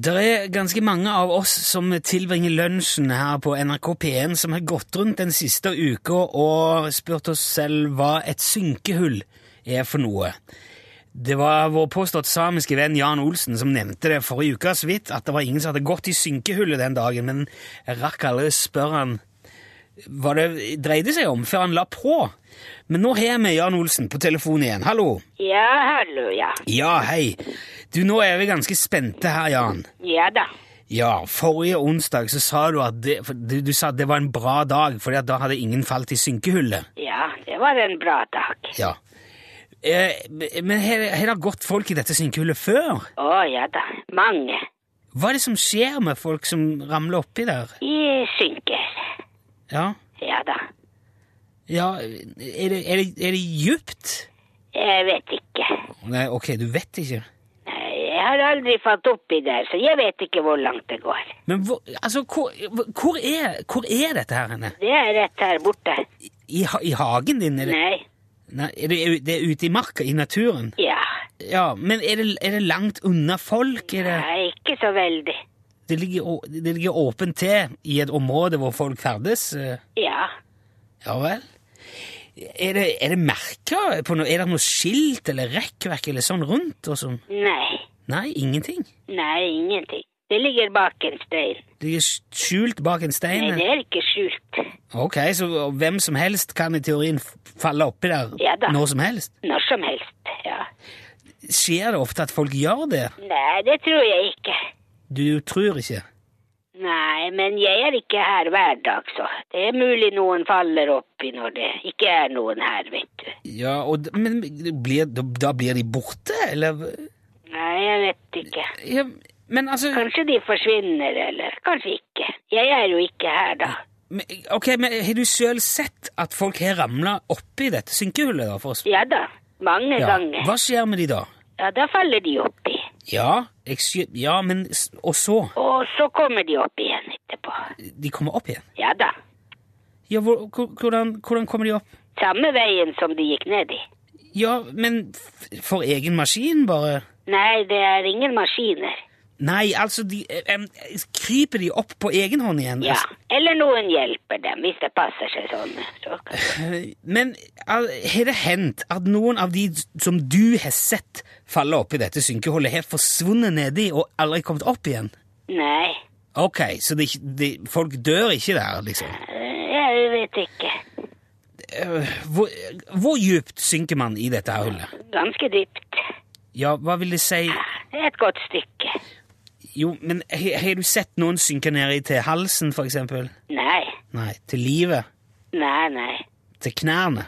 Det er ganske mange av oss som tilbringer lunsjen her på NRK P1 som har gått rundt den siste uka og spurt oss selv hva et synkehull er for noe. Det var vår påstått samiske venn Jan Olsen som nevnte det forrige uke så vidt, at det var ingen som hadde gått i synkehullet den dagen, men jeg rakk aldri spørre han hva det dreide seg om før han la på. Men nå har vi Jan Olsen på telefon igjen. Hallo! Ja, hallo, ja. Ja, hei. Du, nå er vi ganske spente her, Jan. Ja da. Ja, forrige onsdag så sa du at det, for du, du sa at det var en bra dag, fordi at da hadde ingen falt i synkehullet. Ja, det var en bra dag. Ja. Eh, men har har det gått folk i dette synkehullet før? Å ja da. Mange Hva er det som skjer med folk som ramler oppi der? i synker. Ja, Ja da. ja er det, er det, er det djupt? Jeg vet ikke. Nei, ok, du vet ikke. Nei, Jeg har aldri falt oppi der, så jeg vet ikke hvor langt det går. Men hvor, altså, hvor, hvor, er, hvor er dette her henne? Det er rett her borte. I, ha- I hagen din? Er det, Nei. nei, er det, er det ute i marka, i naturen? Ja. Ja, men er det, er det langt unna folk? Er det, Nei, ikke så veldig. det, ligger, å- det ligger åpent til i et område hvor folk ferdes? eh, Ja. Ja vel? Er det, er det merka på noe? Er det noe skilt eller rekkverk eller sånn rundt? Og sånn? Nei. Nei, ingenting. Nei, ingenting. Det ligger bak en stein. Det ligger skjult bak en Nei, det stein. er ikke skjult. Ok, så hvem som helst kan i teorien f- falle oppi der Ja da. når som helst? Når som helst. Ja. Skjer det ofte at folk gjør det? Nei, det tror jeg ikke. Du tror ikke? Nei, men jeg er ikke her hver dag, så det er mulig noen faller oppi når det ikke er noen her, vet du. Ja, og, d- men blir, da, da blir de borte, eller? Nei, jeg vet ikke. Ja, men altså Kanskje de forsvinner, eller kanskje ikke. Jeg er jo ikke her, da. Men, ok, men Har du sjøl sett at folk har ramla oppi dette synkehullet? da for oss? Ja da, mange Ja. ganger. Hva skjer med de da? Ja, da faller de oppi. Ja, jeg sky ja, men s- Og så? Og så kommer de opp igjen etterpå. De kommer opp igjen? Ja da. Ja, hvor, hvor- hvordan, hvordan kommer de opp? Samme veien som de gikk ned i. Ja, men f- for egen maskin, bare? Nei, det er ingen maskiner. Nei, altså de, em, Kryper de opp på egen hånd igjen? Ja. Altså, Eller noen hjelper dem, hvis det passer seg sånn. Så kan- men al- har det hendt at noen av de som du har sett falle oppi dette synkehullet, har forsvunnet nedi og aldri kommet opp igjen? Nei, Ok, så det, ikke- det, folk dør ikke der, liksom? eh, jeg vet ikke. Eh, Hvor, hvor djupt synker man i dette her hullet? Ganske dypt. Ja, hva vil det si? Et godt stykke. Jo, men he- har du sett noen synke ned i til halsen, for eksempel? Nei, Nei, til livet? nei, nei. Til knærne?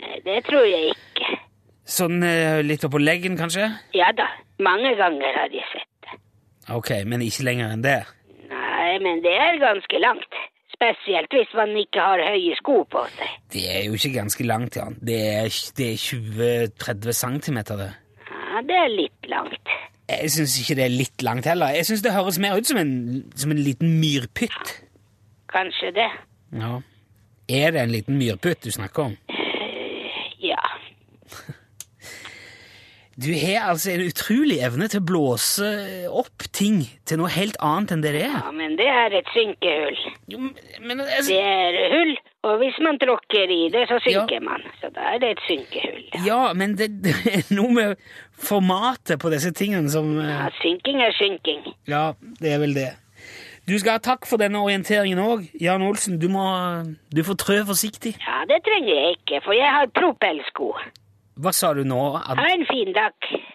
Nei, Det tror jeg ikke. Sånn eh, litt oppå leggen, kanskje? Ja da, mange ganger har jeg sett det. Ok, men ikke lenger enn det. Nei, men det er ganske langt. Spesielt hvis man ikke har høye sko på seg. Det er jo ikke ganske langt, Jan. Det er, det er 20-30 centimeter, det. Ja, det er litt langt. Jeg syns ikke det er litt langt heller. Jeg syns det høres mer ut som en, som en liten myrpytt. Kanskje det. Ja. Er det en liten myrputt du snakker om? Ja. Du har altså en utrolig evne til å blåse opp ting til noe helt annet enn det det er. ja, men det er et synkehull. Jo, men altså, Det er hull, og hvis man tråkker i det, så Ja. synker man. Så da er det et synkehull. Ja, men det, det er noe med formatet på disse tingene som eh, Ja, synking er synking. Ja, det er vel det. Du skal ha takk for denne orienteringen òg, Jan Olsen. Du må Du får trø forsiktig. Ja, det trenger jeg ikke, for jeg har propellsko. Hva sa du nå? Ad Ha en fin dag.